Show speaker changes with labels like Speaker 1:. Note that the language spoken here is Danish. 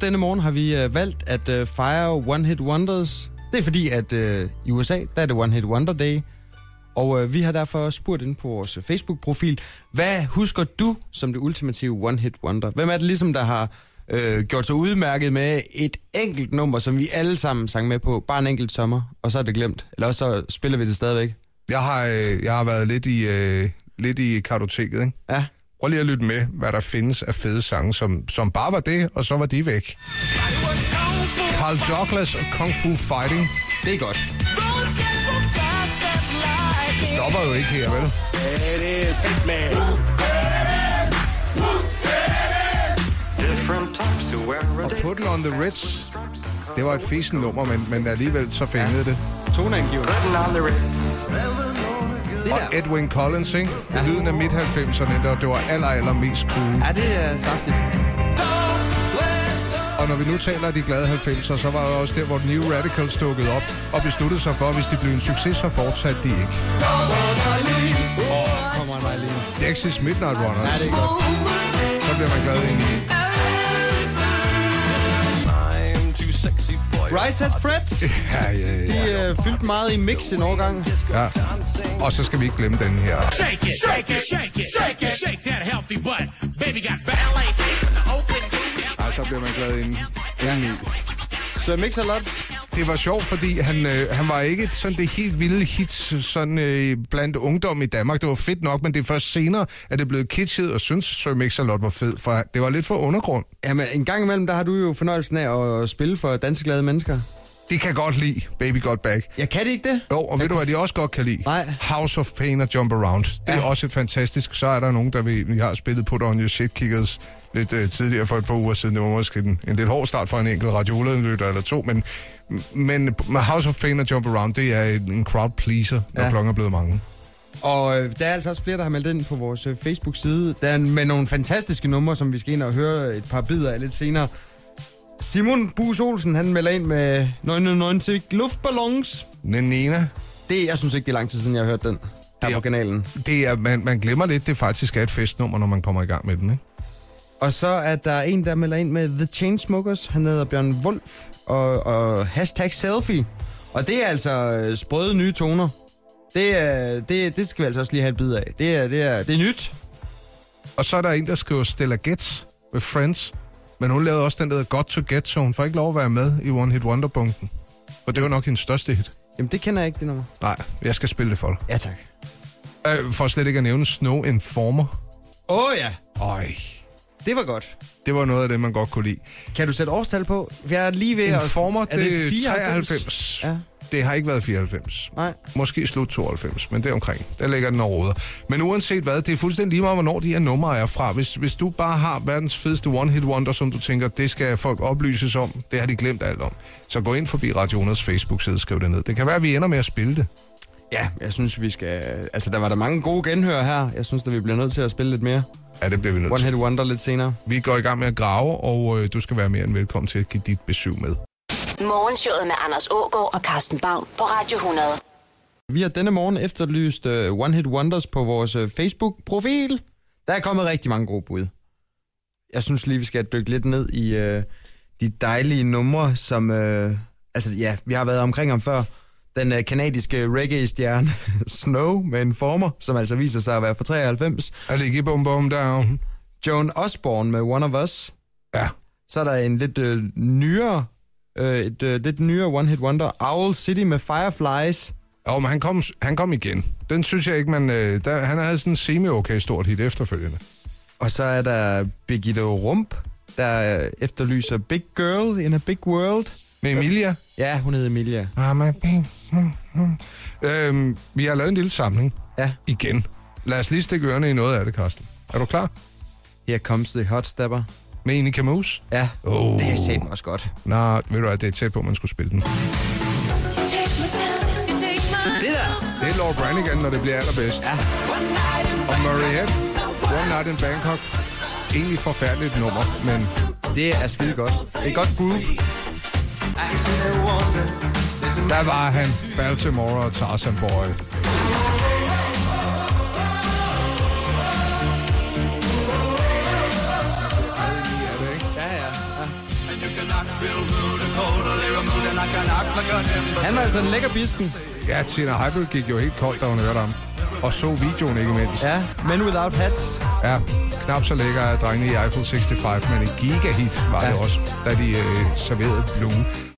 Speaker 1: denne morgen har vi øh, valgt at øh, fejre One Hit Wonders. Det er fordi, at øh, i USA, der er det One Hit Wonder Day. Og øh, vi har derfor spurgt ind på vores øh, Facebook-profil, hvad husker du som det ultimative One Hit Wonder? Hvem er det ligesom, der har øh, gjort sig udmærket med et enkelt nummer, som vi alle sammen sang med på, bare en enkelt sommer, og så er det glemt? Eller også så spiller vi det stadigvæk.
Speaker 2: Jeg har, øh, jeg har været lidt i, øh, lidt i kartoteket, ikke?
Speaker 1: Ja.
Speaker 2: Prøv lige at lytte med, hvad der findes af fede sange, som, som bare var det, og så var de væk. Carl Douglas og Kung Fu Fighting
Speaker 1: Det er godt.
Speaker 2: stopper jo ikke her, vel? Og Put It On The Ritz, det var et fesen nummer, men, men alligevel så fængede det.
Speaker 1: Toneangiver. Det
Speaker 2: Og
Speaker 1: der,
Speaker 2: Edwin Collins, ikke? Lyden af midt-90'erne, der det var aller, aller mest cool.
Speaker 1: er det øh, saftigt?
Speaker 2: Og når vi nu taler af de glade 90'er, så var det også der, hvor New Radicals dukkede op og besluttede sig for, at hvis de blev en succes, så fortsatte de ikke.
Speaker 1: Kommer mig lige.
Speaker 2: Dexys Midnight Runners.
Speaker 1: Ja, det er godt.
Speaker 2: Så bliver man glad ind i.
Speaker 1: Rise at Fred.
Speaker 2: Ja, ja, ja.
Speaker 1: De øh, fyldte meget i mix en årgang.
Speaker 2: ja. Og så skal vi ikke glemme den her.
Speaker 3: Shake it, shake it, shake it, shake it, shake that healthy butt. Baby got ballet in the open.
Speaker 2: Ej, så bliver man glad ind. Ja,
Speaker 1: Så mix a lot.
Speaker 2: det var sjovt, fordi han, øh, han var ikke sådan det helt vilde hit sådan, øh, blandt ungdom i Danmark. Det var fedt nok, men det er først senere, at det blev kitschet, og synes Sir Mix-a-Lot var fed, for det var lidt for undergrund.
Speaker 1: Jamen, en gang imellem, der har du jo fornøjelsen af at spille for danseglade mennesker.
Speaker 2: Det kan godt lide Baby Got Back.
Speaker 1: Jeg kan det ikke det?
Speaker 2: Jo, og ved du, hvad de også godt kan lide?
Speaker 1: Nej.
Speaker 2: House of Pain og Jump Around. Det er
Speaker 1: Ja.
Speaker 2: også et fantastisk. Så er der nogen, der ved, vi har spillet Put On Your Shit Kickers lidt øh, tidligere for et par uger siden. Det var måske en, en lidt hård start for en enkelt radioledenlytter eller to, men, men med House of Pain og Jump Around, det er en en crowd pleaser, når
Speaker 1: Ja.
Speaker 2: ja. klokken er blevet mange.
Speaker 1: Og øh, der er altså også flere, der har meldt ind på vores øh, Facebook-side der er med nogle fantastiske numre, som vi skal ind og høre et par bidder af lidt senere. Simon Bus Olsen, han melder ind med 999 luftballons.
Speaker 2: Nena,
Speaker 1: Det, jeg synes ikke, det er lang tid siden, jeg har hørt den her
Speaker 2: Det
Speaker 1: på
Speaker 2: er-
Speaker 1: kanalen.
Speaker 2: det er, man, man glemmer lidt, det faktisk er et festnummer, når man kommer i gang med den, ikke?
Speaker 1: Og så er der en, der melder ind med The Chainsmokers. Han hedder Bjørn Wolf og, og hashtag selfie. Og det er altså øh, sprøde nye toner. Det, er, det, det skal vi altså også lige have et bid af. Det er, det er, det er nyt.
Speaker 2: Og så er der en, der skriver Stella Getz med Friends. Men hun lavede også den, der hedder Got to Get, så hun får ikke lov at være med i One Hit Wonder-bunken. For det var nok hendes største hit.
Speaker 1: Jamen, det kender jeg ikke, det nummer.
Speaker 2: Nej, jeg skal spille det for dig.
Speaker 1: Ja, tak.
Speaker 2: Øh, for slet ikke at nævne Snow Informer.
Speaker 1: Åh oh, ja,
Speaker 2: Øj,
Speaker 1: det var godt.
Speaker 2: det var noget af det, man godt kunne lide.
Speaker 1: Kan du sætte årstal på? Vi er lige ved
Speaker 2: Informer,
Speaker 1: at...
Speaker 2: det, er 93.
Speaker 1: Ja,
Speaker 2: Det har ikke været 94.
Speaker 1: nej.
Speaker 2: Måske slut 92, men det er omkring. Der ligger den og råder. Men uanset hvad, det er fuldstændig lige meget, hvornår de her numre er fra. Hvis, hvis du bare har verdens fedeste one-hit wonder, som du tænker, det skal folk oplyses om, det har de glemt alt om, så gå ind forbi Radio Oners Facebook-side og skriv det ned. Det kan være, at vi ender med at spille det.
Speaker 1: Ja, jeg synes, vi skal... Altså, der var der mange gode genhør her. Jeg synes, at vi bliver nødt til at spille lidt mere.
Speaker 2: Ja, det bliver vi nødt
Speaker 1: One
Speaker 2: til.
Speaker 1: Hit Wonder lidt senere.
Speaker 2: Vi går i gang med at grave, og øh, du skal være mere end velkommen til at give dit besøg med.
Speaker 4: Morgenshowet med Anders Ågaard og Carsten Baum på Radio 100.
Speaker 1: Vi har denne morgen efterlyst uh, One Hit Wonders på vores uh, Facebook-profil. Der er kommet rigtig mange gode bud. Jeg synes lige, vi skal dykke lidt ned i uh, de dejlige numre, som... Uh, altså ja, vi har været omkring om før. Den uh, kanadiske reggae-stjerne Snow med en former, som altså viser sig at være fra 93.
Speaker 2: Er det ikke bum bum der?
Speaker 1: Joan Osborne med One of Us.
Speaker 2: Ja.
Speaker 1: Så er der en lidt uh, nyere... Uh, et uh, lidt nyere One Hit Wonder. Owl City med Fireflies.
Speaker 2: Jo, men han kom, han kom igen. Den synes jeg ikke, man... Øh, der, han havde sådan en semi-okay stort hit efterfølgende.
Speaker 1: Og så er der Birgitte Rump, der øh, efterlyser Big Girl in a Big World.
Speaker 2: Med Emilia.
Speaker 1: Ja, hun hedder Emilia.
Speaker 2: Ah, my pink. Mm, mm. Øhm, vi har lavet en lille samling.
Speaker 1: Ja,
Speaker 2: Igen. Lad os lige stikke ørerne i noget af det, Karsten. Er du klar?
Speaker 1: her comes the hot stepper.
Speaker 2: Med Enika Moose?
Speaker 1: Ja,
Speaker 2: Oh.
Speaker 1: det er satme også godt.
Speaker 2: Nej, ved du hvad, det er tæt på, man skulle spille den.
Speaker 1: Det der,
Speaker 2: Det er Laura Branigan, når det bliver allerbedst. Ja. Og Mariette, One Night in Bangkok. Egentlig forfærdeligt nummer, men
Speaker 1: det er skide godt. Det er godt groove.
Speaker 2: der var han. Baltimore og Tarzan Boy.
Speaker 1: Ja, ja. ja. Han var altså en lækker bisken.
Speaker 2: Ja, Tina Heibel gik jo helt koldt, da hun hørte ham. Og så videoen ikke mindst.
Speaker 1: Ja, men without hats.
Speaker 2: Ja, knap så lækker er drengene i Eiffel 65, men en gigahit var ja. det
Speaker 1: Ja.
Speaker 2: også, da de øh, serverede Blue.